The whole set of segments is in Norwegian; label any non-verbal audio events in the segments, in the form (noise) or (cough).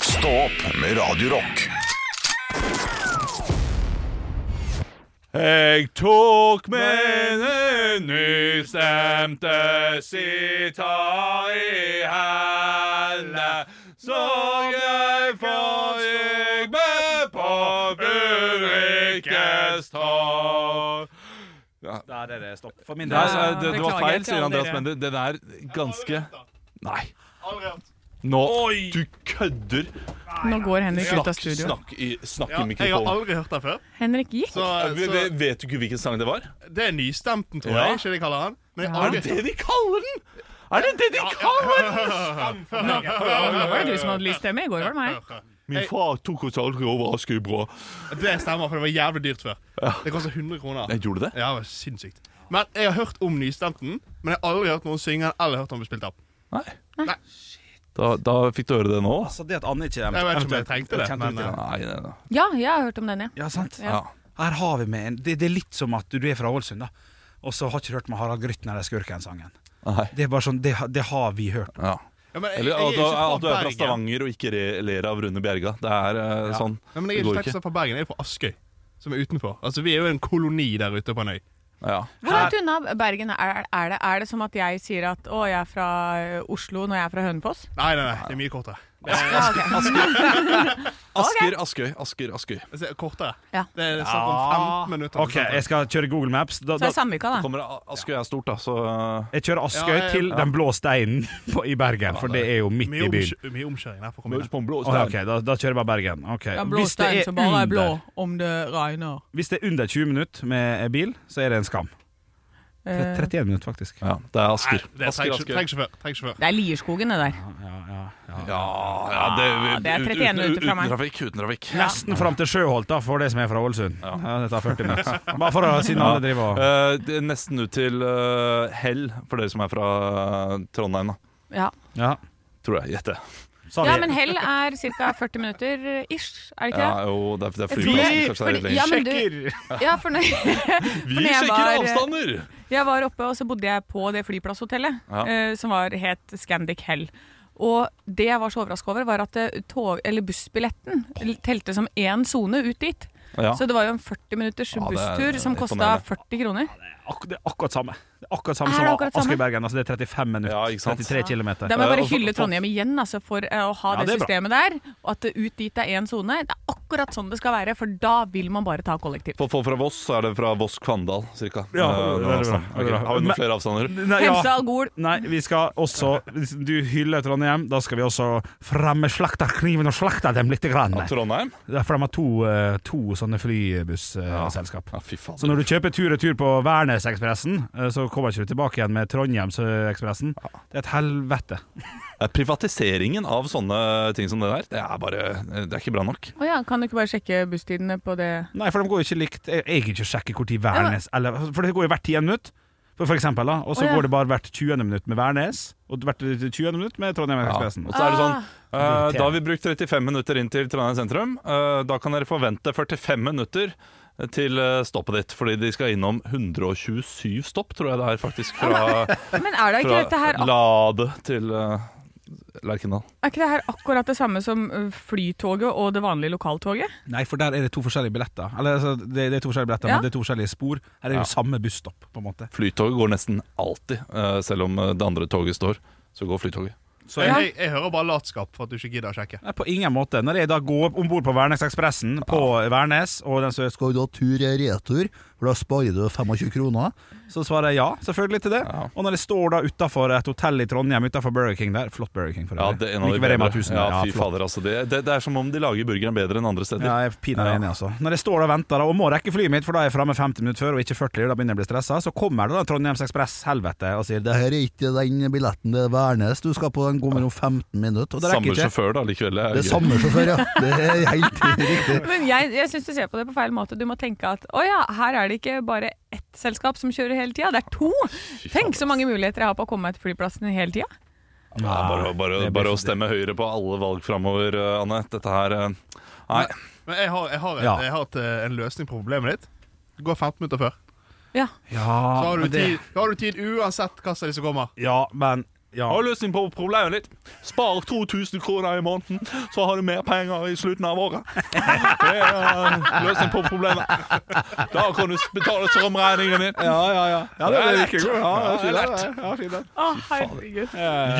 Stå opp med Radio Rock. Jeg tok med en nystemte sitar i henne, som jeg forgikk med på Ulrikkes torg. Der er det stopp. For min Nei, altså, del så nei, det, det var beklager feil, til sier alle Andreas, dere. men det, den er ganske Nei. Nå Du kødder! Nå går Henrik ut av Snakk, studio. snakk i, snakk i Ja, jeg har mikrofonen. aldri hørt den før. Henrik gikk. Så, Vi- så vi- Vet du ikke hvilken sang det var? det er nystemten, tror Ja. jeg. Ikke det jeg kaller han. Men jeg har Ja. Er det aldri det de kaller den? Er det det de kaller den? Nå, nå var det du som hadde lyst til meg. I går var det meg. Min far tok oss aldri over Askøybråa. Det stemmer, for det var jævlig dyrt før. Det koster 100 kroner. Jeg gjorde det? Ja, det var sinnssykt. Men jeg har hørt om nystemten, men jeg har aldri hørt noen synge den eller hørt den bli spilt opp. Nei. Da, da fikk du høre det nå, da. Altså det at Anne ikke Jeg vet ikke om jeg eventuelt- trengte det, kjente litt men, til Nei, nei, nei. Ja, jeg har hørt om den, ja. Ja, sant? Ja. Her har vi med en det, det er litt som at du er fra Ålesund, da. Og så har ikke du hørt med Harald Grytner eller Skurken-sangen. nei. Det er bare sånn, det, har- det har vi hørt. Ja. Ja, men jeg, Eller jeg at du, at du er fra Bergen. Stavanger og ikke re- ler av Rune Bjerga. Det er eh, sånn. Nei, men Det jeg er går ikke faktisk fra Bergen, jeg er fra Askøy, som er utenfor. Altså, Vi er jo en koloni der ute på en øy. Ja. Hvor langt unna Bergen er, er det? Er det som at jeg sier at å, jeg er fra eh, Oslo når jeg er fra Hønefoss? Nei, nei, nei, det er mye kortere. Ja, ok. (laughs) Asker, Askøy, Asker, Askøy. Altså, kortere. Ja. Det er snakk om 15 minutter. OK, jeg skal kjøre Google Maps. Da, Så da, er Sandvika, da. Kommer det- Askøy er stort, da, så eh, jeg kjører Askøy Ja, jeg- til Den blå steinen (laughs) på, i Bergen, for det er jo midt mye, i byen. omkjø mye omkjøring der for å komme kommer inn. ut på en blå Å, ja, stein. ok, da, da kjører jeg bare Bergen. Ok. Ja, blå Hvis, det stein er som bare er blå under, om det regner. hvis det er under 20 minutter med bil, så er det en skam. Tre- Eh, 31 minutter, faktisk. Ja, det er Asker. Nei, det er- Asker, Treng Asker. treng sjåfør. Treng sjåfør. Det er Lierskogen, det der. Ja, ja, det, det er 31 uten- minutter fra meg. Uten trafikk, uten trafikk. Nesten fram til Sjøholt, da, for det som er fra Ålesund. Ja. det tar 40 minutter. Bare for å si Ja. noe det driver og Eh, det er nesten ut til eh, Hell, for dere som er fra eh, Trondheim, da. Ja. ja. Tror jeg. Gjett det. Sa ja, vi- men Hell er ca. 40 minutter eh, ish, er det ikke Ja, jo, det er, det er det? flyplassen. Fordi- Kanskje det er litt fordi- lenger. ja, men du- Ja, for når, (laughs) Vi når sjekker jeg var- avstander! Jeg var oppe, og så bodde jeg på det flyplasshotellet Ja. eh, som var het Scandic Hell. Og det jeg var så overraska over, var at eh, tog, eller bussbilletten telte som én sone ut dit. Ja. Så det var jo en 40 minutters Ja, det er busstur som kosta imponerende. 40 kroner. Ak det er akkurat samme. Det er akkurat samme Er det som akkurat samme? Askebergen. Altså, det er 35 minutter. Ja, ikke sant? 33 Da km. må jeg Eh, bare og for- hylle for- Trondheim igjen altså, for eh, å ha Ja, det, det er bra. systemet der. Og at det ut dit er én sone. Det er akkurat sånn det skal være, for da vil man bare ta kollektiv. For folk fra Voss så er det fra Voss Kvandal, cirka. Ja, Eh, det den er avstanden. bra, det er bra. Ok, Har vi Men- noen flere avstander? Nei, ja. Hemsedal Gol. Nei, vi skal også Du hyller Trondheim, da skal vi også fremme slakterkniven og slakte dem litt. Grann. Ja, Trondheim? Det er fremme to, eh, to sånne flybusselskap. Ja, fy faen. Så når du kjøper tur-retur på Værnesekspressen, eh, så kommer ikke du tilbake igjen med Trondheimsekspressen. Det er et helvete. Eh, Privatiseringen av sånne ting som det der, det er bare Det er ikke bra nok. Å ja, kan du ikke bare sjekke busstidene på det? Nei, for de går jo ikke likt. Jeg jeg kan ikke sjekke hvor tid Værnes eller, For det går jo hvert tiende minutt, for, for eksempel. Da. Og så Å, ja. går det bare hvert 20. minutt med Værnes, og hvert 20. minutt med Trondheim Ja. Og Ekspressen. så er det sånn Ah. eh, Da har vi brukt 35 minutter inn til Trondheim sentrum. Eh, da kan dere forvente 45 minutter til eh, stoppet ditt, fordi de skal innom 127 stopp, tror jeg det er faktisk, fra, Ah, Men er da ikke dette her fra Lade til eh, Lerkendal. Er ikke det her akkurat det samme som ø, flytoget og det vanlige lokaltoget? Nei, for der er det to forskjellige billetter. Eller altså, det, det er to forskjellige billetter, Ja. men det er to forskjellige spor. Her er det jo samme busstopp, på en måte. Flytoget går nesten alltid, eh, selv om eh, det andre toget står. Så går flytoget. Så jeg, jeg, jeg hører bare latskap for at du ikke gidder å sjekke. Nei, på ingen måte. Når jeg da går om bord på Værnesekspressen på Værnes, og den som skal du ha tur er retur, for da sparer du 25 kroner, så svarer jeg ja, selvfølgelig til det. Ja. Og når jeg står da utafor et hotell i Trondheim, utafor Burger King der Flott Burger King, for Ja, øvrig. det er en av de Likevel Rema bedre. 1000, Ja, ja, fy flott. fader, altså. Det, det, det er som om de lager burgeren bedre enn andre steder. Ja, jeg er pinadø Ja. enig, altså. Når jeg står og venter da, og må rekke flyet mitt, for da er jeg framme 50 minutter før og ikke 40, da begynner jeg å bli stressa, så kommer det da Trondheimsekspress-helvete og sier det her er ikke den billetten, det er Værnes du skal på, den kommer om 15 minutter. Og det Samme rekker ikke. sjåfør, da, likevel. Det er Det gøy. er samme sjåfør, ja. Det er helt riktig. Men jeg, jeg syns du ser på det på feil måte. Du må tenke at å ja, her er det ikke bare ett selskap som kjører hele tida, det er to! Tenk så mange muligheter jeg har på å komme meg til flyplassen hele tida. Ja, bare, bare, det blir bare å for stemme Høyre på alle valg framover, Anne. Dette her eh, Nei. Men jeg har, jeg har, et, Ja. jeg har et, eh, en løsning på problemet ditt. Du går 15 minutter før. Ja. Ja, Så har du men det- tid, har du tid uansett hva som er de som kommer. Ja, men Ja. Har du løsning på problemet ditt? Spar 2000 kroner i måneden, så har du mer penger i slutten av året. (laughs) Det er eh, løsning på problemet. Da kan du betale strømregningen din. Ja, ja, ja. ja Det er det, det lett. virker jo. Ja, det er fint, Ja, det er det. Ja, fint, det. Å, herregud.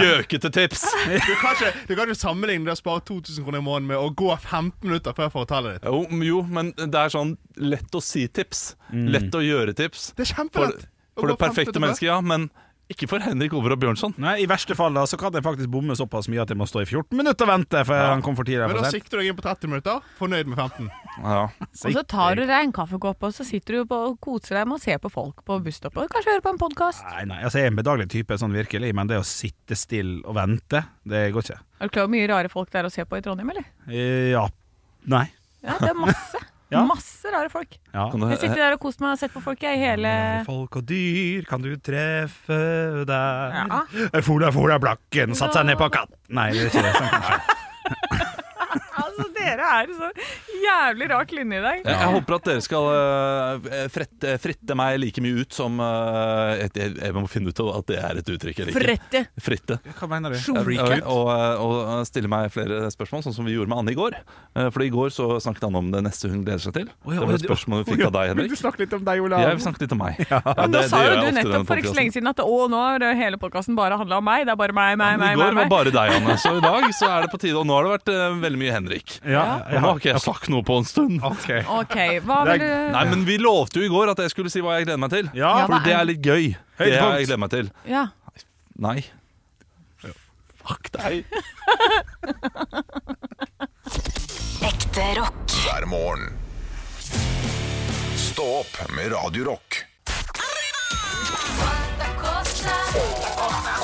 Gjøkete tips. Du kan ikke, du kan ikke sammenligne det å spare 2000 kroner i måneden med å gå 15 minutter før fortallet ditt. Jo, men- jo, men det er sånn lett å si tips. Lett å gjøre tips. Det er For, kjempelett. å for gå det 15 perfekte minutter mennesket, ja. Men ikke for Henrik Over og Bjørnson. Nei, I verste fall da, så kan jeg faktisk bomme såpass mye at jeg må stå i 14 minutter og vente. For han kom for tidlig før. Men for da sent. sikter du deg inn på 30 minutter, fornøyd med (laughs) 15. Ja. Og så tar du deg en kaffekopp, og så sitter du på, og koser deg med å se på folk på busstoppet. og Kanskje høre på en podkast. Nei, nei, altså Jeg er en bedagelig type, sånn virkelig, men det å sitte stille og vente, det går ikke. Er du klar over hvor mye rare folk det er å se på i Trondheim, eller? Eh, Ja. Nei. Ja, det er masse. Ja. Masse rare folk. Ja. Kan du- Jeg sitter der og koser meg og har sett på folk jeg i hele Folk og dyr kan du treffe der Ja. Fola, fola, blakken, satt seg ned på katten Nei, det er ikke det. Sånn, kanskje. Altså, dere er så jævlig rak linje i dag. Jeg, jeg håper at dere skal eh, frette, fritte meg like mye ut som eh, jeg, jeg, jeg må finne ut av at det er et uttrykk eller ikke. Frette. Fritte. Hva mener du? Eh, eh, Og, eh, og stille meg flere spørsmål, sånn som vi gjorde med Anne i går. Eh, Fordi i går så snakket han om det neste hun gleder seg til. ja, Det ja, var et det- spørsmål vi fikk av deg, Du Henrik. snakket litt om deg, Olav. Jeg snakket litt om meg. Ja, Men det- nå det sa gjør jo jeg du ofte i nettopp denne for ikke så podcasten. lenge siden at å, nå har det- hele podkasten bare handla om meg. Det er bare meg, meg, Men I meg. går meg, var bare meg. deg, Anne, så i dag så er det på tide. Og nå har det vært eh, veldig mye Henrik. Ja, Og nå har ikke jeg sagt noe på en stund. Ok. Ok, hva vil du Nei, men vi lovte jo i går at jeg skulle si hva jeg gleder meg til. Ja, Ja, hva For det er- er litt gøy. Det er Høydepunkt. jeg gleder meg til. Ja. Nei. Fuck deg. Ekte rock. hver morgen. Stå opp med Radio Rock.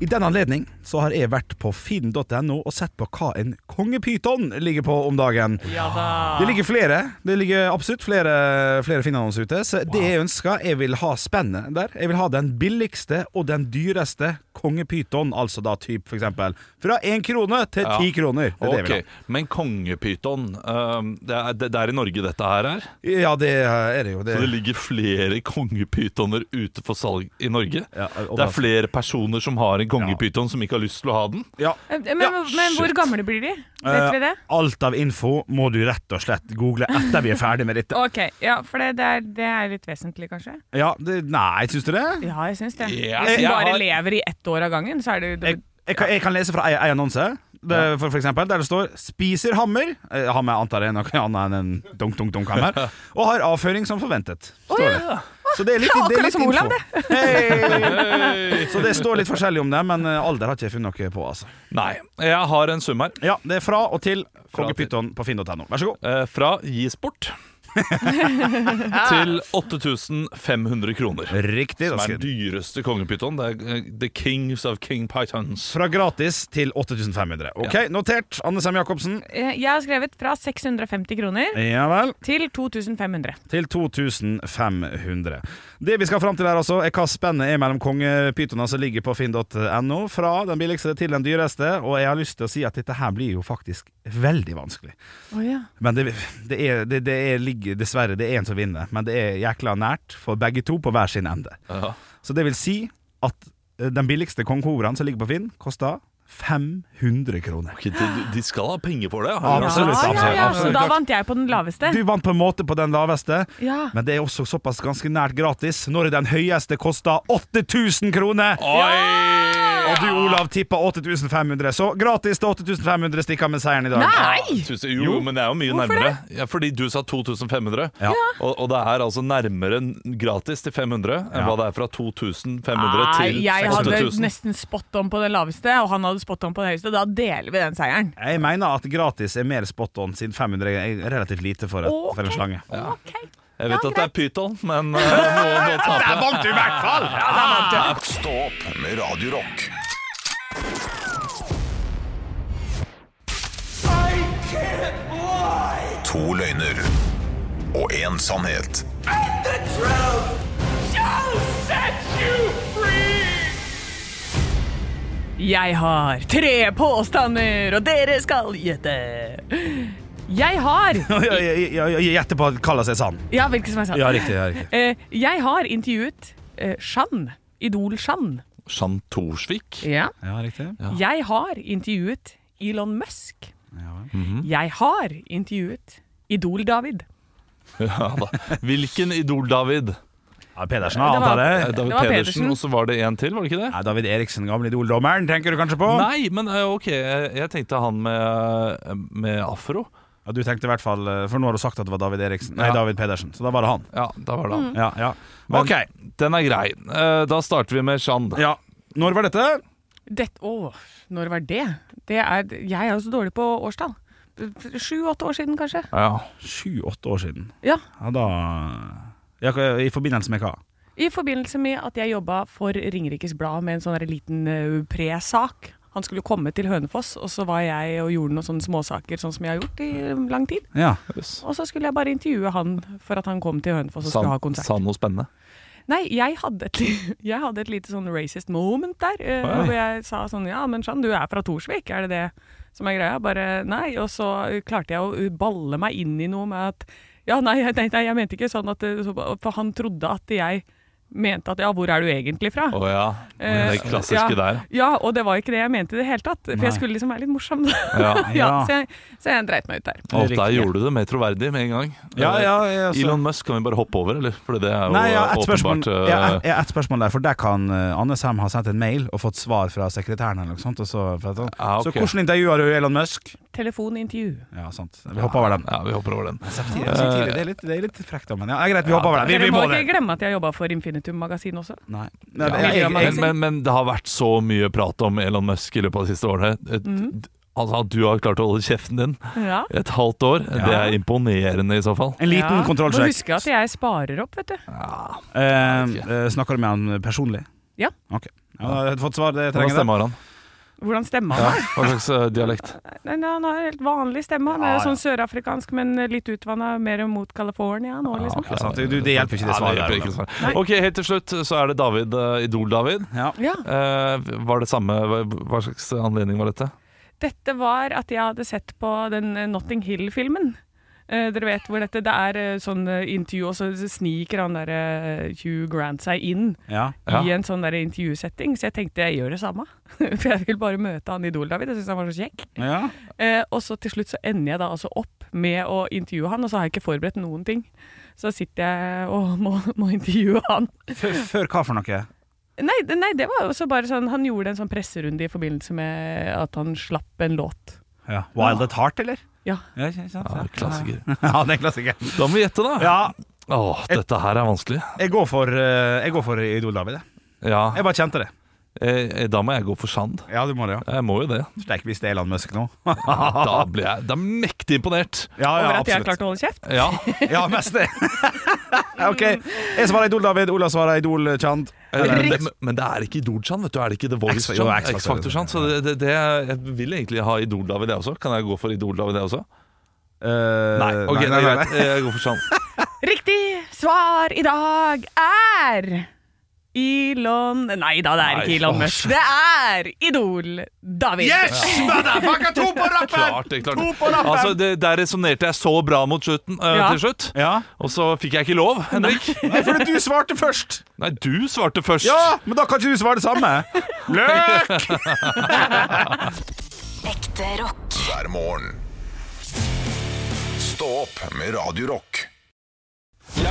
I den anledning så har jeg vært på finn.no og sett på hva en kongepyton ligger på om dagen. ja da. Det ligger flere. Det ligger absolutt flere, flere Finn-annonser ute. Så det jeg ønsker, jeg vil ha spennet der. Jeg vil ha den billigste og den dyreste kongepyton, altså da typ for eksempel fra én krone til Ja. ti kroner. Det er det jeg vil Ok, Men kongepyton, ehm, det, er- det, det er i Norge dette her er? ha. Ja, det er det jo. Det. Så det ligger flere kongepytoner ute for salg i Norge? Ja, og det da- er flere personer som har en kongepyton som ikke har lyst til å ha den? Ja. Men, men, Ja, men hvor shit. gamle blir de? Vet vi det? Eh, Alt av info må du rett og slett google etter vi er ferdig med dette. Ok, ja, for det, det, er, det er litt vesentlig, kanskje? Ja, det, nei, syns du det? Ja, jeg syns det. Ja, Hvis jeg du bare har- lever i ett år av gangen, så er det jo Jeg, jeg, kan, jeg kan lese fra ei, ei annonse, det, for, for eksempel, der det står 'Spiser hammer'. Eh, Hammer antar jeg er noe annet enn en dunk-dunk-dunk-hammer. Og har avføring som forventet. Står det. Så det er litt, det er Akkurat litt som Olav, info. (laughs) Hei! Så det står litt forskjellig om det, men eh, alder har ikke jeg funnet noe på. Altså. Nei. Jeg har en sum her. Ja, Det er fra og til Fra til. kongepyton på finn.no. Vær så god. Eh, fra Gisport (laughs) til 8500 kroner. Riktig. Som Da er skal den jeg. dyreste kongepyton. Det er eh, The Kings of King Pythons. Fra gratis til 8500. Ok, Notert. Anne Sem Jacobsen. Eh, Jeg har skrevet fra 650 kroner Ja vel. til 2500. til 2500. Det vi skal fram til her altså er hva spennet er mellom kongepytonene som ligger på finn.no, fra den billigste til den dyreste, og jeg har lyst til å si at dette her blir jo faktisk veldig vanskelig. Men det, det, er, det, det er, ligger dessverre, det er en som vinner, men det er jækla nært for begge to på hver sin ende. Ja. Så det vil si at eh, den billigste kongehoraen som ligger på Finn, koster 500 kroner. Ok, De, de skal ha penger for det. Ja, Absolutt, ja, ja, ja. absolutt. Så da vant jeg på den laveste. Du vant på en måte på den laveste, Ja. Men det er også såpass ganske nært gratis når den høyeste koster 8000 kroner. Og du, Olav, tippa 8500, så gratis til 8500 stikker med seieren i dag. Nei! Tusen, jo, jo, men det er jo mye Hvorfor nærmere. Ja, fordi du sa 2500, Ja. og, og det er altså nærmere n- gratis til 500 enn Ja. hva det er fra 2500 Nei, til jeg hadde 8000. nesten spot on på den laveste, og han hadde spot on på den høyeste. Da deler vi den seieren. Jeg mener at gratis er mer spot on, siden 500 er relativt lite for, et, for en Ok. slange. Ok. Jeg vet at det er pyton, men eh, noe må tape. vant du i hvert fall! Stå opp med Radio Rock. To løgner og én sannhet. Jeg har tre påstander, og dere skal gjette. Jeg har Gjette på hva som er sann. Ja, hvilken som er sant. Ja, riktig. ja, riktig Eh, jeg har intervjuet eh, Shan, Idol-Shan. Jean Thorsvik. Ja. Ja, riktig. Jeg har intervjuet Elon Musk. Jeg har intervjuet Idol-David. (laughs) Ja, da. Hvilken Idol, David? Ja, Pedersen Det har var- Eh, avtale. David var Pedersen, Pedersen. og så var det en til, var det ikke det? Ja, David Eriksen, gamle idoldommeren, tenker du kanskje på? Nei, men eh, ok, jeg jeg tenkte han med, eh, med afro. Ja, du tenkte i hvert fall, eh, For nå har du sagt at det var David Eriksen Nei, Ja. David Pedersen, så da var det han. Ja, da var det Mm. han. Ja, ja Men Ok, Den er grei. Eh, Da starter vi med Jean. ja Når var dette? Det, å, når var det? det er, jeg er jo så dårlig på årstall. Sju-åtte år siden, kanskje. Ja. Sju-åtte år siden. Ja, Ja, da ja, hva- I forbindelse med hva? I forbindelse med at jeg jobba for Ringerikes Blad med en sånn der liten eh, presak. Han skulle komme til Hønefoss, og så var jeg og gjorde noen sånne småsaker sånn som jeg har gjort i lang tid. Ja, Og så skulle jeg bare intervjue han for at han kom til Hønefoss og Sa skulle ha konsert. sa han noe spennende? Nei, jeg hadde, et, li- (laughs) jeg hadde et lite sånn racist moment der. eh, Oi. hvor jeg sa sånn Ja, men Shan, du er fra Torsvik, er det det som er greia? Bare nei. Og så eh, klarte jeg å eh, balle meg inn i noe med at Ja, nei, jeg- nei, nei jeg mente ikke sånn at eh, så, For han trodde at jeg mente at Ja, hvor er du egentlig fra? Å ja. Eh, Det klassiske ja. der. Ja, og det var ikke det jeg mente i det hele tatt. For Nei. jeg skulle liksom være litt morsom. da. (laughs) Ja. Ja. ja, så, jeg, så jeg dreit meg ut der. Og Riktig. der gjorde du det mer troverdig med en gang. Eh, ja, ja, ja så- Elon Musk kan vi bare hoppe over, eller? For det er jo Nei, ja, et spørsmål, åpenbart eh, ja, et, ja, et spørsmål der, for der kan eh, Anne Sem ha sendt en mail og fått svar fra sekretæren. eller noe sånt og så, for at han- Ja, Ah, ok. så hvordan intervjuer du Elon Musk? Telefonintervju. Ja, sant. Vi hopper over den. Ja, vi hopper over den. Samtidig, samtidig, det, er litt, det er litt frekt, da, men ja, greit, vi hopper over den. Vi, Dere vi må må ikke det. glemme at jeg jobba for Infinitum-magasin også. Nei. Ja, Nei, men, jeg- jeg- men, jeg- men, det har vært så mye prat om Elon Musk i løpet av de siste årene. Et, Mhm. Altså At du har klart å holde kjeften din Ja. et halvt år, det er imponerende i så fall. En liten ja. Må kontrollsjekk. huske at jeg sparer opp, vet du. Eh, jeg vet eh, snakker du med han personlig? Ja. Ok. Ja, da har jeg fått svar. Det Hvordan trenger jeg. stemmer han? Hvordan stemmer Ja, han? hva slags eh, dialekt? Nei, nei, han har helt vanlig stemme. Han er jo sånn sørafrikansk, men litt utvanna, mer mot California nå, liksom. Ja, sant. sånn. Du, det hjelper ikke det Ja, svaret. liksom. det hjelper der, ikke det da. svaret. Ok, Helt til slutt så er det David, eh, Idol-David. Ja. Ja. Eh, var det samme hva, hva slags anledning var dette? Dette var at jeg hadde sett på den eh, Notting Hill-filmen. Eh, dere vet hvor dette Det er eh, sånn eh, intervju, og så sniker han der eh, Hugh Grant seg inn Ja. Ja. i en sånn der intervjusetting, så jeg tenkte jeg gjør det samme. (laughs) For jeg vil bare møte han Idol-David. Jeg syns han var så kjekk. Ja. Eh, og så til slutt så ender jeg da altså opp med å intervjue han, og så har jeg ikke forberedt noen ting. Så sitter jeg og må, (laughs) må intervjue han. Før, før hva for noe? Nei, det- nei, det var jo også bare sånn Han gjorde en sånn presserunde i forbindelse med at han slapp en låt. Ja. Wild at Heart, eller? Ja. Ja, ikke sant? Ja, klassiker. (laughs) Ja, det er klassiker. Da må vi gjette, da. Ja, Åh, dette her er vanskelig. jeg går for, eh, jeg går for Idol David. jeg. Ja, Jeg bare kjente det. eh, Da må jeg gå for Sand. Ja, du må det, ja. Jeg må jo (laughs) det. Steik hvis det er Elon Musk (laughs) nå. Da blir jeg da er jeg mektig imponert. Ja, Over ja, at jeg har absolutt. klart å holde kjeft. Ja, Ja, mest det. (laughs) ok, jeg svarer Idol David, Ola svarer Idol Chand. Eller, men, men- men det er ikke Idol-Chan, vet du. Er det ikke The X- jo, X-Factor. Voice-Chan? X-Factor-Chan. Så det, det, det, jeg vil egentlig ha Idol-David, jeg også. Kan jeg gå for Idol-David, jeg også? Eh, Nei, ok, nei, nei, nei. greit. Jeg går for Chan. Riktig svar i dag er Elon Nei da, det er Nei, ikke Elon åh, Mush. Det er Idol-David. Yes, motherfucker! To på (laughs) Klart rappen! det, klart To på det. rappen! Altså, det, der resonnerte jeg så bra mot slutten, eh, Ja. til slutt. Ja. Og så fikk jeg ikke lov, Henrik. Nei, fordi du svarte først! Nei, du svarte først. Ja, men da kan ikke du svare det samme. Løk! Ekte rock. hver morgen. Stå opp med Radio Rock. Det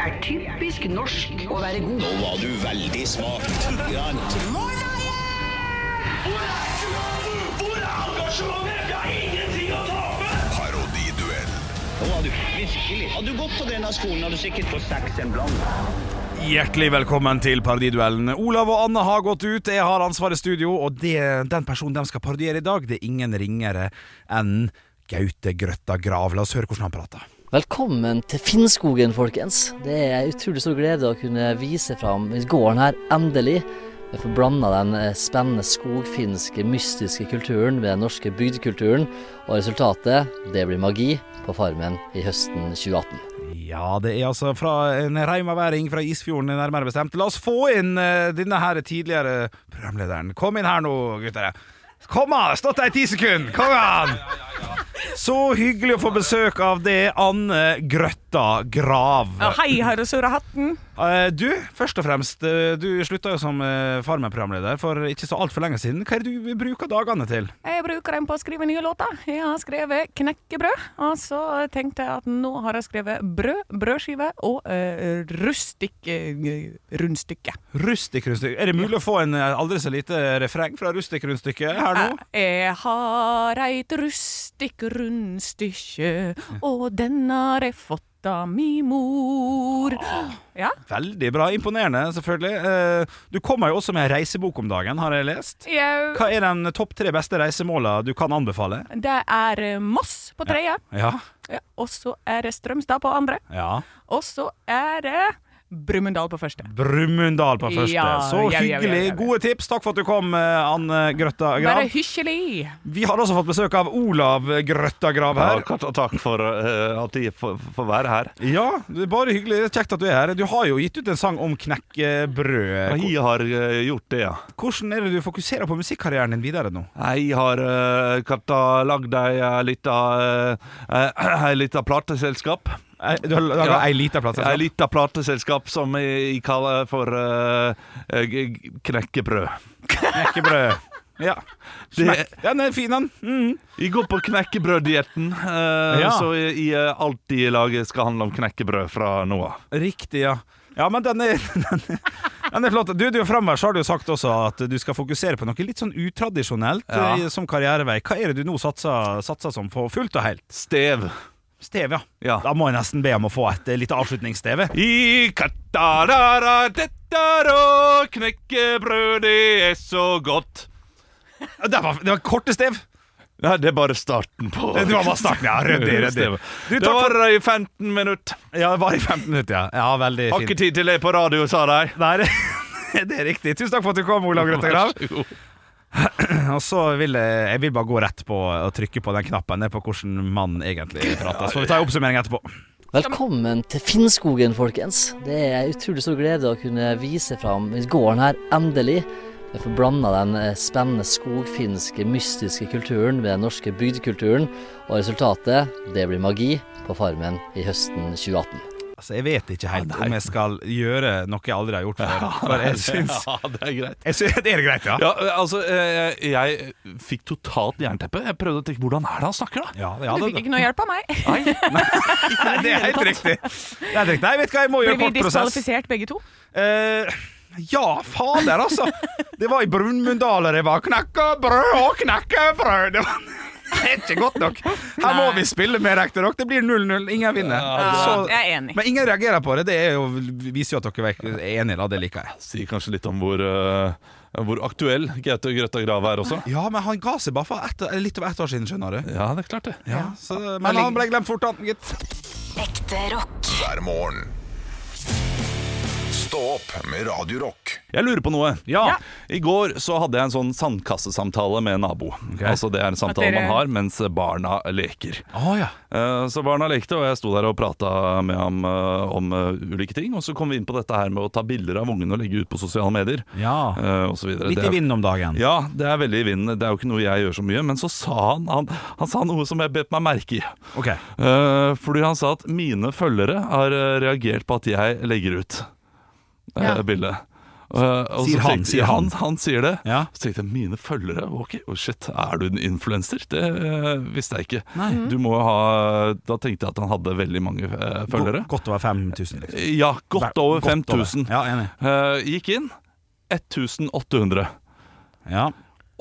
er typisk norsk å være god. Nå var du veldig smak. Parodiduell Nå var du virkelig. Hadde du gått på denne skolen, hadde du sikkert fått seks en blant. Hjertelig velkommen til Parodiduellen. Olav og Anne har gått ut, jeg har ansvaret i studio, og det, den personen de skal parodiere i dag, det er ingen ringere enn Gaute Grøtta Grav. La oss høre hvordan han prater. Velkommen til Finnskogen, folkens. Det er utrolig stor glede å kunne vise fram gården her, endelig. Derfor blanda den eh, spennende skogfinske, mystiske kulturen med den norske bygdekulturen, og resultatet, det blir magi på Farmen i høsten 2018. Ja, det er altså fra en reimaværing fra Isfjorden, nærmere bestemt. La oss få inn eh, denne her tidligere programlederen. Kom inn her nå, gutter. Kom an, stått der i ti sekunder! Kom an! Så hyggelig å få besøk av det Anne Grøtta Grav. Ja, hei, herre Sura Hatten. Eh, Du, først og fremst, eh, du slutta jo som eh, Farmen-programleder for ikke så altfor lenge siden. Hva er det du bruker dagene til? Jeg bruker den på å skrive nye låter. Jeg har skrevet 'Knekkebrød', og så tenkte jeg at nå har jeg skrevet brød, brødskive og uh, rustikk eh, rundstykke. Rustikk rundstykke. Er det mulig å få en eh, aldri så lite refreng fra rustikk rundstykke her nå? Eh. Jeg har eit rustikk rundstykke, og den har jeg fått av mi mor. Ja, Veldig bra. Imponerende, selvfølgelig. Eh, Du kommer jo også med ei reisebok om dagen, har jeg lest. jeg Hva er den topp tre beste reisemåla du kan anbefale? Det er eh, Moss på tredje, Ja. ja. og så er det Strømstad på andre, ja. og så er det Brumunddal på første. Brumunddal på første. Ja, så ja, ja, ja, ja, ja. hyggelig. Gode tips. Takk for at du kom, eh, Anne Grøtta Bare Grav. hyggelig! Vi har også fått besøk av Olav Grøtta Grav Ja, her. takk- takk for eh, at de får får være her. Ja, det er bare hyggelig. Det er Kjekt at du er her. Du har jo gitt ut en sang om knekkebrød. Jeg har eh, gjort det, ja. Hvordan er det du fokuserer på musikkarrieren din videre nå? Jeg har eh, katta lagd ei eh, lita (clears throat) uh, Ei lita plateselskap. Eh, Du har laga Ja. ei lita plate? Ei lita plateselskap som jeg jeg kaller for eh, eh, g- knekkebrød. Knekkebrød. (laughs) Ja. Det, Smek- Den er fin, den. Mm. jeg går på knekkebrøddietten, eh, Ja. så jeg, jeg, eh, alt jeg lager skal handle om knekkebrød fra nå av. Riktig, ja. Ja, men den er, (laughs) den er, den er flott. Du, du framover så har du jo sagt også at du skal fokusere på noe litt sånn utradisjonelt Ja. eh, som karrierevei. Hva er det du nå satser, satser som for fullt og helt? Stev. Stev, ja. Ja. Da må jeg nesten be om å få et eh, lite avslutningssteve. I katarara dettaro, knekkebrød, det er så godt. Det var, det var korte stev. Nei, det er bare starten på Det var bare starten, ja. Ryddig, ryddig. Du, Det takk for, var i 15 minutter. ja, det var i 15 minutter, ja. Ja, veldig Har ikke fint. tid til det på radio, sa de. Nei, (laughs) det er riktig. Tusen takk for at du kom, Olav Grøtta Grav. Og så vil jeg, jeg vil bare gå rett på og trykke på den knappen der på hvordan mann (laughs) egentlig prater. Så vi tar en oppsummering etterpå. Velkommen til Finnskogen, folkens. Det er en utrolig stor glede å kunne vise fram gården her, endelig. Derfor blanda den eh, spennende skogfinske, mystiske kulturen med den norske bygdekulturen, og resultatet, det blir magi på Farmen i høsten 2018. Altså, jeg vet ikke helt om jeg skal gjøre noe jeg aldri har gjort før. For jeg syns Ja, det er greit. jeg syns- (laughs) Det er greit, ja. Ja, altså, eh, jeg fikk totalt jernteppe. Jeg prøvde å tenke hvordan er det han snakker, da? Ja, ja Du det, fikk ikke noe hjelp av meg. (laughs) nei, det er (laughs) helt riktig. Det er helt riktig. Nei, vet du hva, jeg må Blir gjøre vi kort prosess. diskvalifisert begge to? Eh, ja, fader, altså. Det var i Brumunddal og det var knekkebrød og knekkebrød. Det var det er ikke godt nok. Her må Nei. vi spille mer ekte rock. Det blir 0-0. Ingen vinner. Ja, Så- jeg er enig. Men ingen reagerer på det. Det er jo, viser jo at dere er enige, da. Det liker jeg. Sier kanskje litt om hvor, eh, hvor aktuell Gaute Grøtta Grav er også. Ja, men han ga seg bare for ett, litt over ett år siden, skjønner du. Ja, det er klart, det. Ja, så, men han ble glemt fort, han, gitt. Ekte rock. hver morgen. Stå opp med Radio Rock. Jeg lurer på noe. Ja. I går så hadde jeg en sånn sandkassesamtale med en nabo. Altså Det er en samtale At dere- man har mens barna leker. Å ja. Eh, Så barna lekte, og jeg sto der og prata med ham eh, om eh, ulike ting. Og så kom vi inn på dette her med å ta bilder av ungene og legge ut på sosiale medier. Ja. eh, og så videre. Litt Det i er- vinden om dagen. Ja, det er veldig i vinden. Det er jo ikke noe jeg gjør så mye. Men så sa han, han, han sa noe som jeg bet meg merke i. Ok. Eh, fordi han sa at mine følgere har eh, reagert på at jeg legger ut eh, Ja. bildet. Eh, og Sier så han, sier han. han. Han sier det. Ja. Så tenkte jeg mine følgere Ok, oh shit, er du en influenser? Det eh, visste jeg ikke. Du må jo ha Da tenkte jeg at han hadde veldig mange eh, følgere. Godt over 5000, liksom. ja, godt over Godt over. 5000. Ja, enig. Eh, gikk inn 1800. Ja.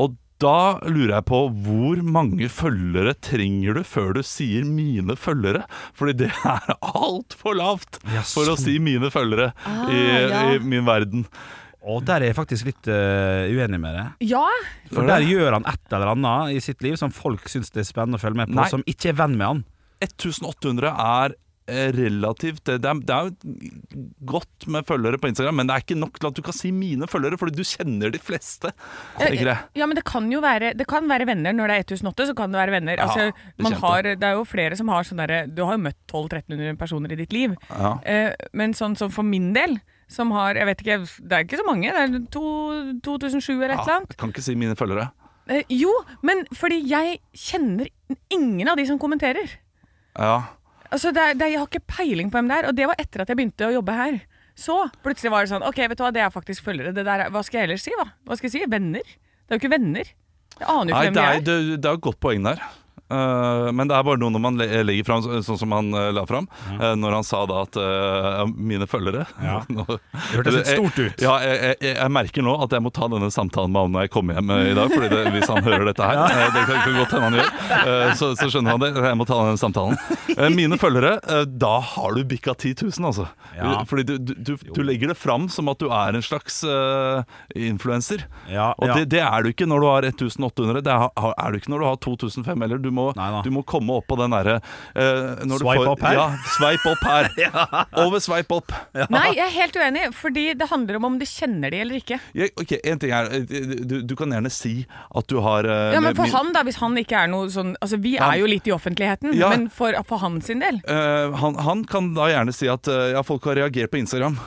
Og da lurer jeg på hvor mange følgere trenger du før du sier 'mine følgere'? Fordi det er altfor lavt Ja, for å sånn. si 'mine følgere' i, ja. i min verden. Og der er jeg faktisk litt eh, uenig med deg. Ja, For der gjør han et eller annet i sitt liv som folk syns det er spennende å følge med på, Nei. som ikke er venn med han. 1800 er eh, relativt Det det er, det er jo godt med følgere på Instagram, men det er ikke nok til at du kan si mine følgere, fordi du kjenner de fleste. Eh, Ikke det? Ja, men det kan jo være, det kan være venner. Når det er 1008, så kan det være venner. Ja, altså, det man kjente. har, det er jo flere som har sånn derre Du har jo møtt 1200-1300 personer i ditt liv. Ja. Eh, men sånn som for min del, som har Jeg vet ikke, det er ikke så mange. Det er to- 2007 eller et eller Ja, annet. jeg kan ikke si mine følgere. Eh, jo, men fordi jeg kjenner ingen av de som kommenterer. Ja. Altså, det er, det er, Jeg har ikke peiling på hvem det er, og det var etter at jeg begynte å jobbe her. Så plutselig var det sånn Ok, vet du hva, det er faktisk følgere. Det der, er- hva skal jeg ellers si, hva? Hva skal jeg si? Venner? Det er jo ikke venner. Jeg aner jo Nei, ikke det er, hvem de er. det, det er et godt poeng der. Eh, men det er bare noe når man le- legger fram så- sånn som han eh, la fram. eh, når han sa da at eh, mine følgere Ja. (laughs) Nå- Det hørtes litt stort Jeg- ut. Ja, jeg, jeg, jeg merker nå at jeg må ta denne samtalen med han når jeg kommer hjem eh, i dag. Fordi det, Hvis han hører (laughs) dette her, eh, det kan ikke godt hende han gjør, eh, så, så skjønner han det. Jeg må ta den samtalen. Eh, mine følgere, eh, da har du bikka 10 000, altså. Ja. Fordi du, du, du, du legger det fram som at du er en slags uh, influenser. Ja, Og ja. Det, det er du ikke når du har 1800, det er, er du ikke når du har 2005 heller. Du må, Nei da. du må komme opp på den derre eh, når du Swipe får- opp her? Ja, swipe opp (laughs) her. Over swipe opp. Nei, jeg er helt uenig, fordi det handler om om du kjenner de eller ikke. Jeg, ok, En ting er eh, du, du kan gjerne si at du har eh, Ja, men for min- han, da, hvis han ikke er noe sånn Altså, vi Han- er jo litt i offentligheten, Ja. men for, for han sin del eh, han, han kan da gjerne si at eh, ja, folk har reagert på Instagram.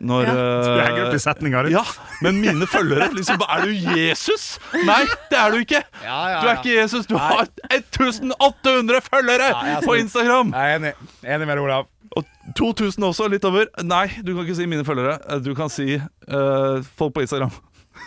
Når Ja. eh, Jeg glemte setninga di. ja, men mine følgere liksom, Er du Jesus? Nei, det er du ikke! Ja, ja, Du er ja. ikke Jesus, du har 1800 følgere jeg er på snill. Instagram! Jeg er enig. Enig med deg, Olav. Og 2000 også, litt over. Nei, du kan ikke si mine følgere. Du kan si eh, folk på Instagram.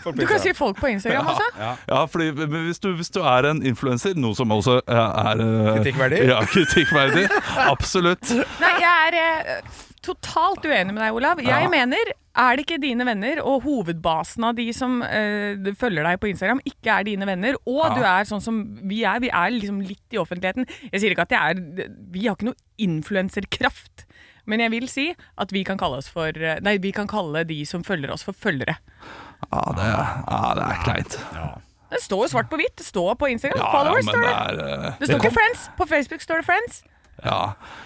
Du kan si folk på Instagram også. Ja, fordi men hvis du, hvis du er en influenser, noe som også eh, er eh, Kritikkverdig? Ja, kritikkverdig. Absolutt. Nei, jeg er eh, totalt uenig med deg, Olav. Jeg Ja. mener, er det ikke dine venner, og hovedbasen av de som eh, følger deg på Instagram, ikke er dine venner, og du er sånn som vi er, vi er liksom litt i offentligheten Jeg sier ikke at jeg er Vi har ikke noe influenserkraft. Men jeg vil si at vi kan kalle oss for eh, Nei, vi kan kalle de som følger oss, for følgere. Ja, det, ja, det er kleint. Det står jo svart på hvitt. Det står på Instagram. Ja, ja, Followers men står det det. er eh, Det står ikke Friends. På Facebook står det Friends. ja.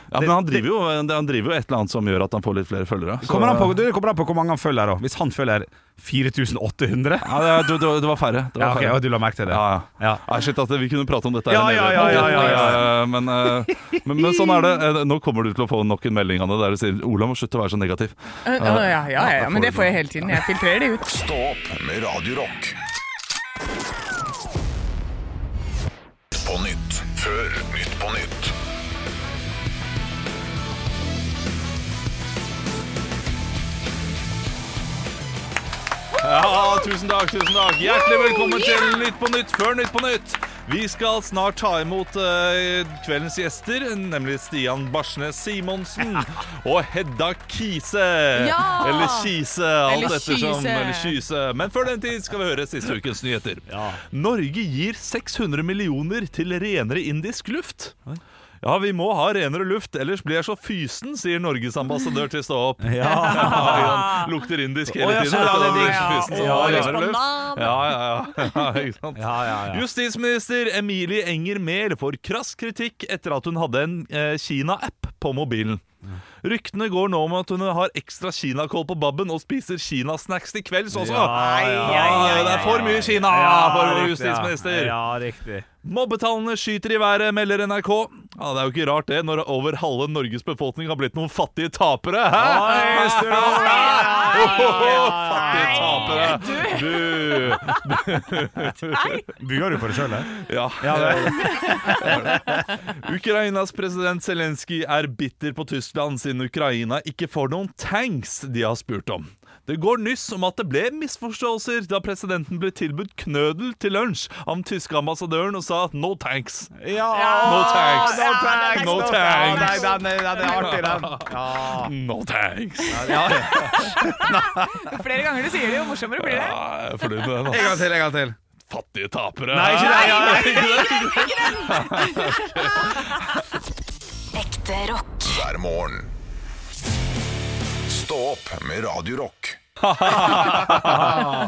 ja, men han driver, jo, han driver jo et eller annet som gjør at han får litt flere følgere. Så- Kommer an på, du, det kommer an på hvor mange han følger. da. Hvis han følger 4800 Ja, det, det, det, det var færre. Det Ja, var ok, færre. ja, Du la merke til det? Ja, ja. Ja. Nei, shit, at vi kunne prate om dette Ja, her en ja, evighet. ja, ja, (laughs) ja, Eh, Men, eh, men, men sånn er det. Eh, Nå kommer du til å få nok en melding Anne, der du sier Ola må slutte å være så negativ. Eh, ja, ja, ja, ja, ja, men det får jeg hele tiden. Jeg filtrerer det ut. Stå opp med Radio Rock. På nytt. Før Nytt på nytt. Ja, tusen takk, tusen takk. Hjertelig velkommen til Nytt på Nytt før Nytt på Nytt. Vi skal snart ta imot eh, kveldens gjester, nemlig Stian Barsnes (laughs) Simonsen og Hedda Kise. Ja! Eller Kise, alt Eller ettersom. Kyse. Eller Kyse. Men før den tid skal vi høre siste ukens nyheter. Norge gir 600 millioner til renere indisk luft. Ja, vi må ha renere luft, ellers blir jeg så fysen, sier Norges ambassadør til Stå opp. (laughs) Ja. han lukter indisk hele Å, ja, tiden. så vet du, ja, det er og blir digg. fysen, så Ja, han ja. renner luft. Ja, ja, ja. (laughs) ja ikke sant? Justisminister Emilie Enger Mehl får krass kritikk etter at hun hadde en eh, Kina-app på mobilen. Ryktene går nå om at hun har ekstra kinakål på babben og spiser kinasnacks til kvelds også. Ja, det er for mye Kina for vår justisminister. Ja, riktig. Mobbetallene skyter i været, melder NRK. Ja, Det er jo ikke rart det, når over halve Norges befolkning har blitt noen fattige tapere. Hæ? Oi, Sturla! Hæ? Ohoho, Fattige tapere! Du! Buer du på det sjøl, Ja. Ukrainas president Zelenskyj er bitter på Tyskland siden Ukraina ikke får noen tanks de har spurt om. Det går nyss om at det ble misforståelser da presidenten ble tilbudt knødel til lunsj av den tyske ambassadøren og sa 'no tanks'. Ja! Ah, No tanks. No thanks! No no thanks. thanks. Nei, den, er- den er artig, den. No tanks. Flere ganger du sier det, jo morsommere blir det. Ja, jeg er fornøyd med den. En ass. gang til, en gang til. Fattige tapere. Nei, ikke det, ja, ja. Ekte rock. Hver morgen. Stå opp med Radio Rock. Ah.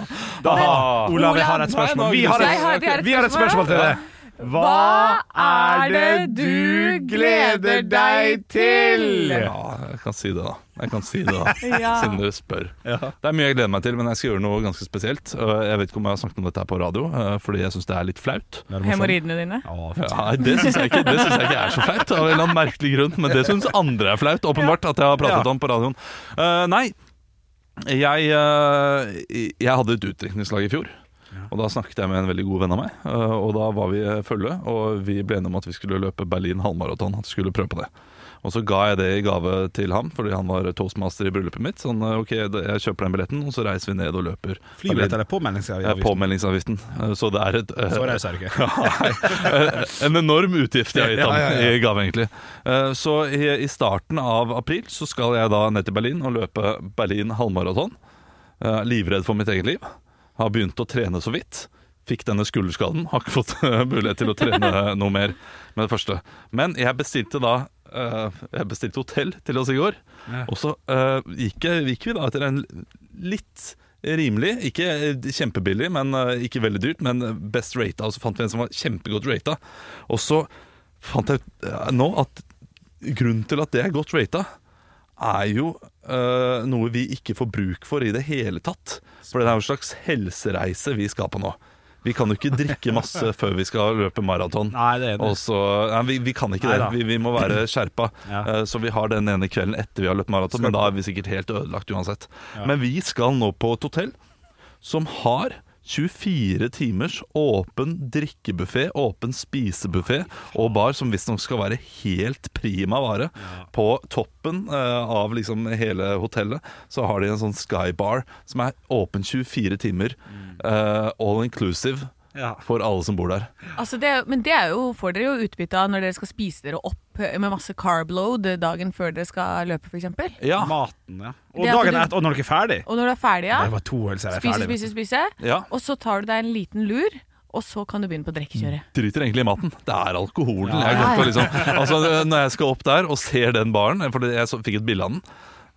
Olav, jeg har et spørsmål. Vi har Jeg har- vi har et, et vi har et spørsmål til deg. Hva er det du gleder deg til? Ja, jeg kan si det, da. Jeg kan si det da (laughs) Ja. Siden dere spør. Det er mye jeg gleder meg til, men jeg skal gjøre noe ganske spesielt. Øh, Jeg vet ikke om jeg har snakket om dette her på radio, øh, fordi jeg syns det er litt flaut. Hemoroidene dine? Ja, det syns jeg, ikke- det synes jeg ikke er så flaut, av en eller annen merkelig grunn. Men det syns andre er flaut, åpenbart, at jeg har pratet om på radioen. Eh, nei, jeg, eh, jeg hadde et utdrikningslag i fjor. Og da snakket jeg med en veldig god venn av meg, eh, og da var vi eh, følge. Og vi ble enige om at vi skulle løpe Berlin halvmaraton, at vi skulle prøve på det. Og så ga jeg det i gave til ham, fordi han var toastmaster i bryllupet mitt. Sånn, eh, ok, jeg kjøper den billetten, og så reiser vi ned og løper. Flybillett Berlin- eller Eh, påmeldingsavgift? Påmeldingsavgiften. Eh, Så det er et eh, Så raus (laughs) er du ikke. Eh, En enorm utgift jeg har gitt ham Ja, ja, ja. i gave, egentlig. Eh, Så i i starten av april så skal jeg da ned til Berlin og løpe Berlin halvmaraton. Eh, Livredd for mitt eget liv. Har begynt å trene så vidt. Fikk denne skulderskaden. Har ikke fått (laughs) eh, mulighet til å trene noe mer med det første. Men jeg bestilte da eh, Jeg bestilte hotell til oss i går. Og så eh, gikk, jeg- gikk vi da etter en litt rimelig, ikke eh, kjempebillig, men eh, ikke veldig dyrt, men best rata. Og så fant vi en som var kjempegodt rata. Og så fant jeg ut eh, nå at grunnen til at det er godt rata, er jo eh, noe vi ikke får bruk for i det hele tatt. For det er jo en slags helsereise vi skal på nå. Vi kan jo ikke drikke masse før vi skal løpe maraton. Nei, det er det. Og så, nei, vi, vi kan ikke Neida. det. Vi, vi må (clears throat) være skjerpa. Ja. Eh, Så vi har den ene kvelden etter vi har løpt maraton, men da er vi sikkert helt ødelagt uansett. Men vi skal nå på et hotell som har 24 timers åpen drikkebuffé, åpen spisebuffé og bar, som visstnok skal være helt prima vare. På toppen eh, av liksom hele hotellet så har de en sånn skybar som er åpen 24 timer, Mm. eh, all inclusive, Ja. for alle som bor der. Altså det, men det er jo, får dere jo utbytte av når dere skal spise dere opp med masse carb load dagen før dere skal løpe, f.eks. Ja, Maten, ja. Og Det at dagen du- etter, og når dere er ferdig. Og når du er ferdig, ja, Det var to øl, så er jeg spise, ferdig. spise, spise, ja. og så tar du deg en liten lur, og så kan du begynne på drikkekjøret. Mm. driter egentlig i maten. Det er alkoholen. Jeg glemte å liksom, altså, når jeg skal opp der og ser den baren, for jeg så, fikk et bilde av den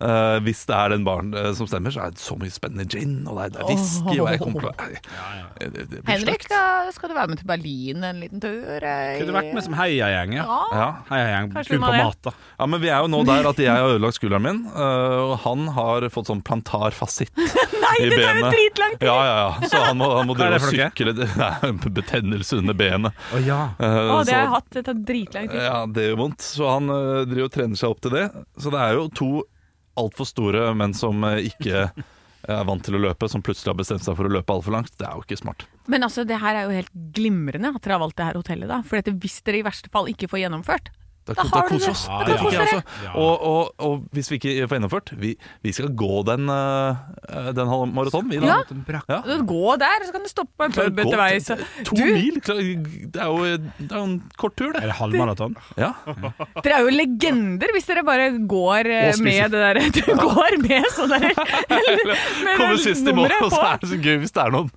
eh, hvis det er den baren eh, som stemmer, så er det så mye spennende gin, og det er, det er whisky og jeg kommer til å Nei, det- det blir Henrik, slakt. da skal du være med til Berlin en liten tur? eh, Kunne vært med som heiagjeng, ja. Ja. Ja. Heiagjeng Kanskje vi kun må på det. mat, da. ja, men vi er jo nå der at jeg har ødelagt skulderen min, eh, og han har fått sånn plantarfasitt (laughs) i det tar jo benet. dritlang tid! Ja, ja, ja. Så han må, han må Hva drive og er det for noe? sykle (laughs) Det er betennelse under benet. Å ja. Eh, Å, det har så- jeg hatt. Det tar dritlang tid. Ja, det gjør vondt. Så han ø, driver og trener seg opp til det. Så det er jo to altfor store menn som ø, ikke eh, er vant til å løpe, som plutselig har bestemt seg for å løpe altfor langt. Det er jo ikke smart. Men altså, det her er jo helt glimrende at dere har valgt det her hotellet, da. For dette, hvis dere i verste fall ikke får gjennomført, Da, Da har du det. oss. Ja, Det ja. tenker jeg også. Ja. Og, og, og hvis vi ikke får gjennomført Vi, vi skal gå den, ø, den halv- maratonen, vi, da. Ja. Ja. da gå der, så kan du stoppe på en Klar, pub gå etterveis. til- To Du- mil? Klar, Det er jo det er jo en kort tur, det. Er det halvmaraton? Ja. Dere er jo legender hvis dere bare går eh, Og spiser. med det der (laughs) Du går med (laughs) sånn der med Kommer det sist i mål, nummeret og så på. er det så gøy hvis det er noen,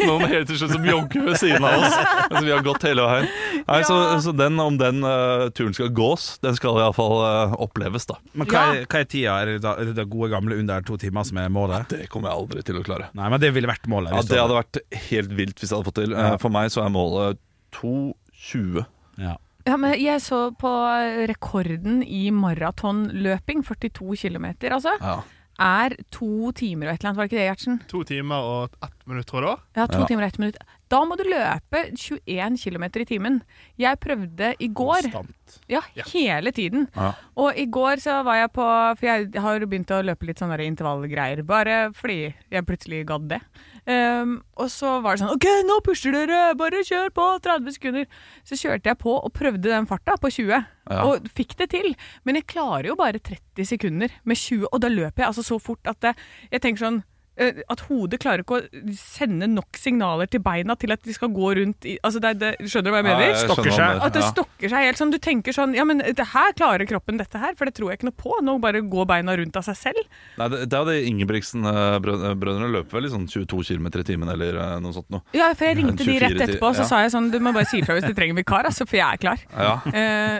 noen helt til slutt som jogger ved siden av oss. Altså, vi har gått hele veien. Nei, så, Ja. så den, om den eh, turen skal gås, den skal iallfall uh, oppleves, da. Men hva er, hva er tida? Er det, da, er det da gode gamle under to timer som er målet? Det kommer jeg aldri til å klare. Nei, men det ville vært målet. Ja, hvis det hadde vært helt vilt hvis jeg hadde fått til. Eh, For meg så er målet 2.20. Ja. Ja, men jeg så på eh, rekorden i maratonløping, 42 km altså, Ja. er to timer og et eller annet, var det ikke det, Gjertsen? To timer og ett minutt, tror jeg det var. Ja, to timer og ett minutt. Da må du løpe 21 km i timen. Jeg prøvde i går. Konstant. Ja, hele tiden. Ja. Og i går så var jeg på For jeg har jo begynt å løpe litt sånne der intervallgreier, bare fordi jeg plutselig gadd det. Ehm, og så var det sånn OK, nå pusher dere! Bare kjør på! 30 sekunder. Så kjørte jeg på og prøvde den farta på 20, Ja. og fikk det til. Men jeg klarer jo bare 30 sekunder med 20, og da løper jeg altså så fort at det, jeg tenker sånn eh, at hodet klarer ikke å sende nok signaler til beina til at de skal gå rundt i altså det, er- det, Skjønner du hva jeg mener? Eh, jeg skjønner Stokker hva du seg. mener. At det Ja. stokker seg helt sånn. Du tenker sånn Ja, men det her klarer kroppen dette her, for det tror jeg ikke noe på. Nå bare går beina rundt av seg selv. Nei, det, det hadde eh, Ingebrigtsen-brødrene løpet vel i sånn 22 km i timen eller eh, noe sånt noe. Ja, for jeg ringte de 24 rett etterpå, til- ja. så sa jeg sånn Du må bare si ifra hvis du trenger vikar, altså, for jeg er klar. Ja.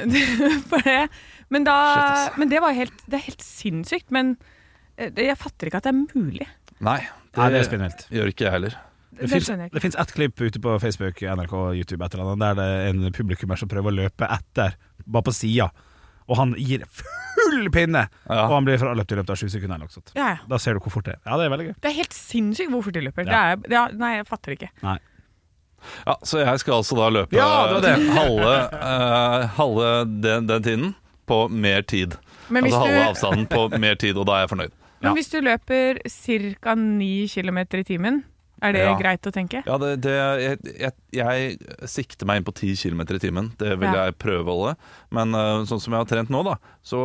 Eh, (laughs) for det, men da Shit, Men det var helt Det er helt sinnssykt, men eh, jeg fatter ikke at det er mulig. Nei, Nei, det er spinnvilt. gjør ikke jeg heller. Det, Det finnes- skjønner jeg det fins ett klipp ute på Facebook, NRK, YouTube et eller annet, der det er en publikummer som prøver å løpe etter, bare på sida. Og han gir full pinne! Ja. Og han blir fraløpt i løpet av sju sekunder. eller noe sånt. Ja, ja. Da ser du hvor fort det er. Ja, det er veldig gøy. Det er helt sinnssykt hvor fort de løper. Ja. Det er, det er, nei, jeg fatter ikke. Ja, Så jeg skal altså da løpe Ja, det var det. (laughs) halve, eh, halve den, den tiden på mer tid. Men hvis, altså halve du, avstanden (laughs) på mer tid, og da er jeg fornøyd. men hvis du løper ca. 9 km i timen, er det Ja. greit å tenke? Ja, det, det, jeg, jeg, jeg sikter meg inn på 10 km i timen. Det vil Ja. jeg prøve å holde. Men eh, sånn som jeg har trent nå, da, så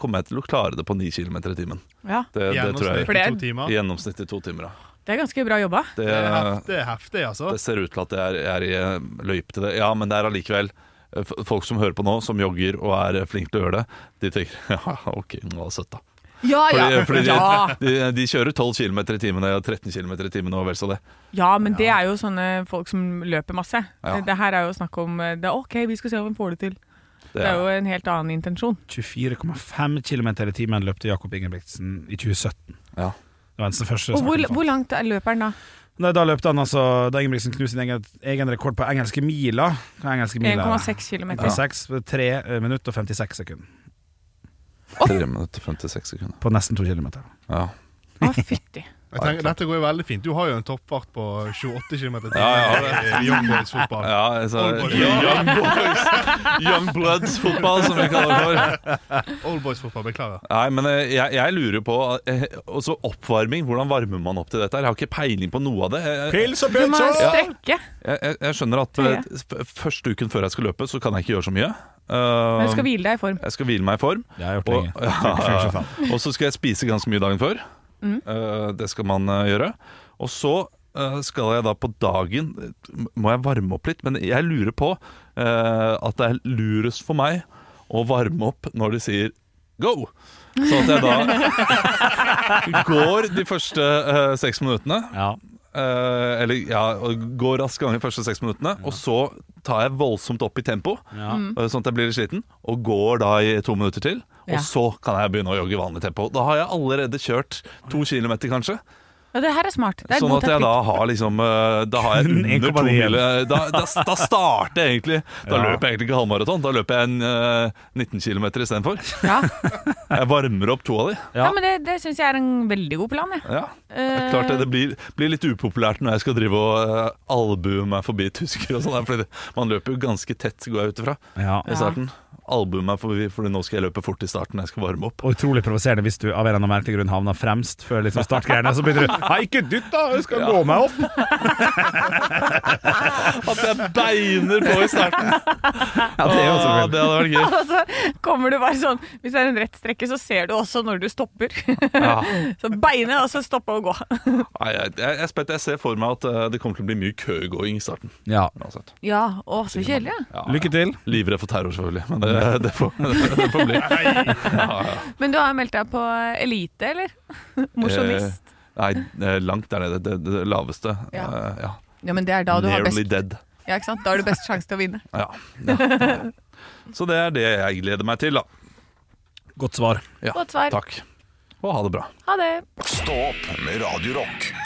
kommer jeg til å klare det på 9 km i timen. Ja. Det, altså. det tror jeg. For det er- to timer. I gjennomsnitt i to timer. Da. Det er ganske bra jobba. Det, Det er heft- det er heftig, altså. det ser ut til at jeg er, jeg er i eh, løype til det. Ja, men det er allikevel eh, f- Folk som hører på nå, som jogger og er eh, flink til å gjøre det, de tenker (laughs) ja, OK, nå var det søtt, da. Ja, ja. Fordi, fordi de, ja. de, de kjører 12 km i timen og 13 km i timen og vel så det. ja, men det er jo sånne folk som løper masse. Ja. Det her er jo snakk om eh, det er OK, vi skal se om vi får det til. Det er jo en helt annen intensjon. 24,5 km i timen løpte Jakob Ingebrigtsen i 2017. Ja. Det var den første Og hvor, saken. hvor langt er løperen da? Nei, Da løpte han altså Da Ingebrigtsen knuste sin egen, egen rekord på engelske mila. Hva er engelske mila? 1,6 km. 1,6 3 minutter og 56 sekunder. 3 minutter og 56 sekunder. På nesten to kilometer. Ja. Å, fytti. Jeg tenker, dette går jo veldig fint. Du har jo en toppfart på 28 km i Ja, timen i Young Boys fotball. Ja, altså, Old boys. young boys Young bloods fotball, som vi kaller det for. Old Boys fotball, beklager. Nei, men eh, jeg, jeg lurer på eh, Også oppvarming. Hvordan varmer man opp til dette? her? Jeg har ikke peiling på noe av det. Jeg, jeg, Pils og Du må strekke. jeg, jeg skjønner at eh, f- første uken før jeg skal løpe, så kan jeg ikke gjøre så mye. Eh, Men du skal hvile deg i form. jeg skal hvile meg i form. Det har jeg gjort Og, lenge. (laughs) ja, (laughs) og så skal jeg spise ganske mye dagen før. Eh, det skal man eh, gjøre. Og så eh, skal jeg da på dagen m- Må jeg varme opp litt? Men jeg lurer på eh, at det er lurest for meg å varme opp når de sier go. Så at jeg da går de første eh, seks minuttene. Ja. eh, eller ja, og går rask gang de første seks minuttene. Og så tar jeg voldsomt opp i tempo. Ja. Mm. Eh, Sånn at jeg blir litt sliten Og går da i to minutter til Ja. Og så kan jeg begynne å jogge i vanlig tempo Da har jeg allerede kjørt to kilometer kanskje Ja, det her er smart. Det er Sånn god at jeg da taktikk. har liksom eh, Da har jeg Kun under to 1,9 igjen. mil- da, da, da starter jeg egentlig Da Ja. løper jeg egentlig ikke halvmaraton Da løper jeg en eh, 19 kilometer i stedet for Ja. Jeg varmer opp to av de ja, men det, det syns jeg er en veldig god plan, jeg. ja. Det er Eh, klart det, det blir, blir litt upopulært når jeg skal drive og eh, albue meg forbi tyskere og sånn der, Fordi det- man løper jo ganske tett, går jeg ut ifra Ja. i starten. Albue meg, fordi, fordi nå skal jeg løpe fort i starten. Jeg skal varme opp. Og utrolig provoserende hvis du av en eller annen merkelig grunn havner fremst før liksom startgreiene. Så begynner du Hei, ikke dytt, da! Jeg skal gå meg opp! At jeg beiner på i starten! (laughs) Ja, det er jo Åh, selvfølgelig. det hadde vært gøy. Eh, (laughs) (laughs) Og så kommer du bare sånn Hvis det er en rett strekke, så ser du også når du stopper. (laughs) så beinet, og så stoppe og gå. Nei, jeg, jeg, jeg, er spent. jeg ser for meg at eh, det kommer til å bli mye køgåing i starten. Ja. uansett. Ja, å, så kjedelig. ja. Ja, Lykke til. Livredd for terror, selvfølgelig. Men det, det, får, (laughs) det får bli. Men du har meldt deg på Elite, eller? (laughs) Mosjonist. Eh, Nei, eh, langt der nede. Det, det, det laveste. Ja. Eh, ja. Ja, men det er da du har Nearly best dead. Ja, ikke sant? Da har du best sjanse til å vinne. Ja. ja. Så det er det jeg gleder meg til, da. Godt svar. Ja. Godt svar. Takk. Og ha det bra. Ha det. Stå opp med Radio Rock.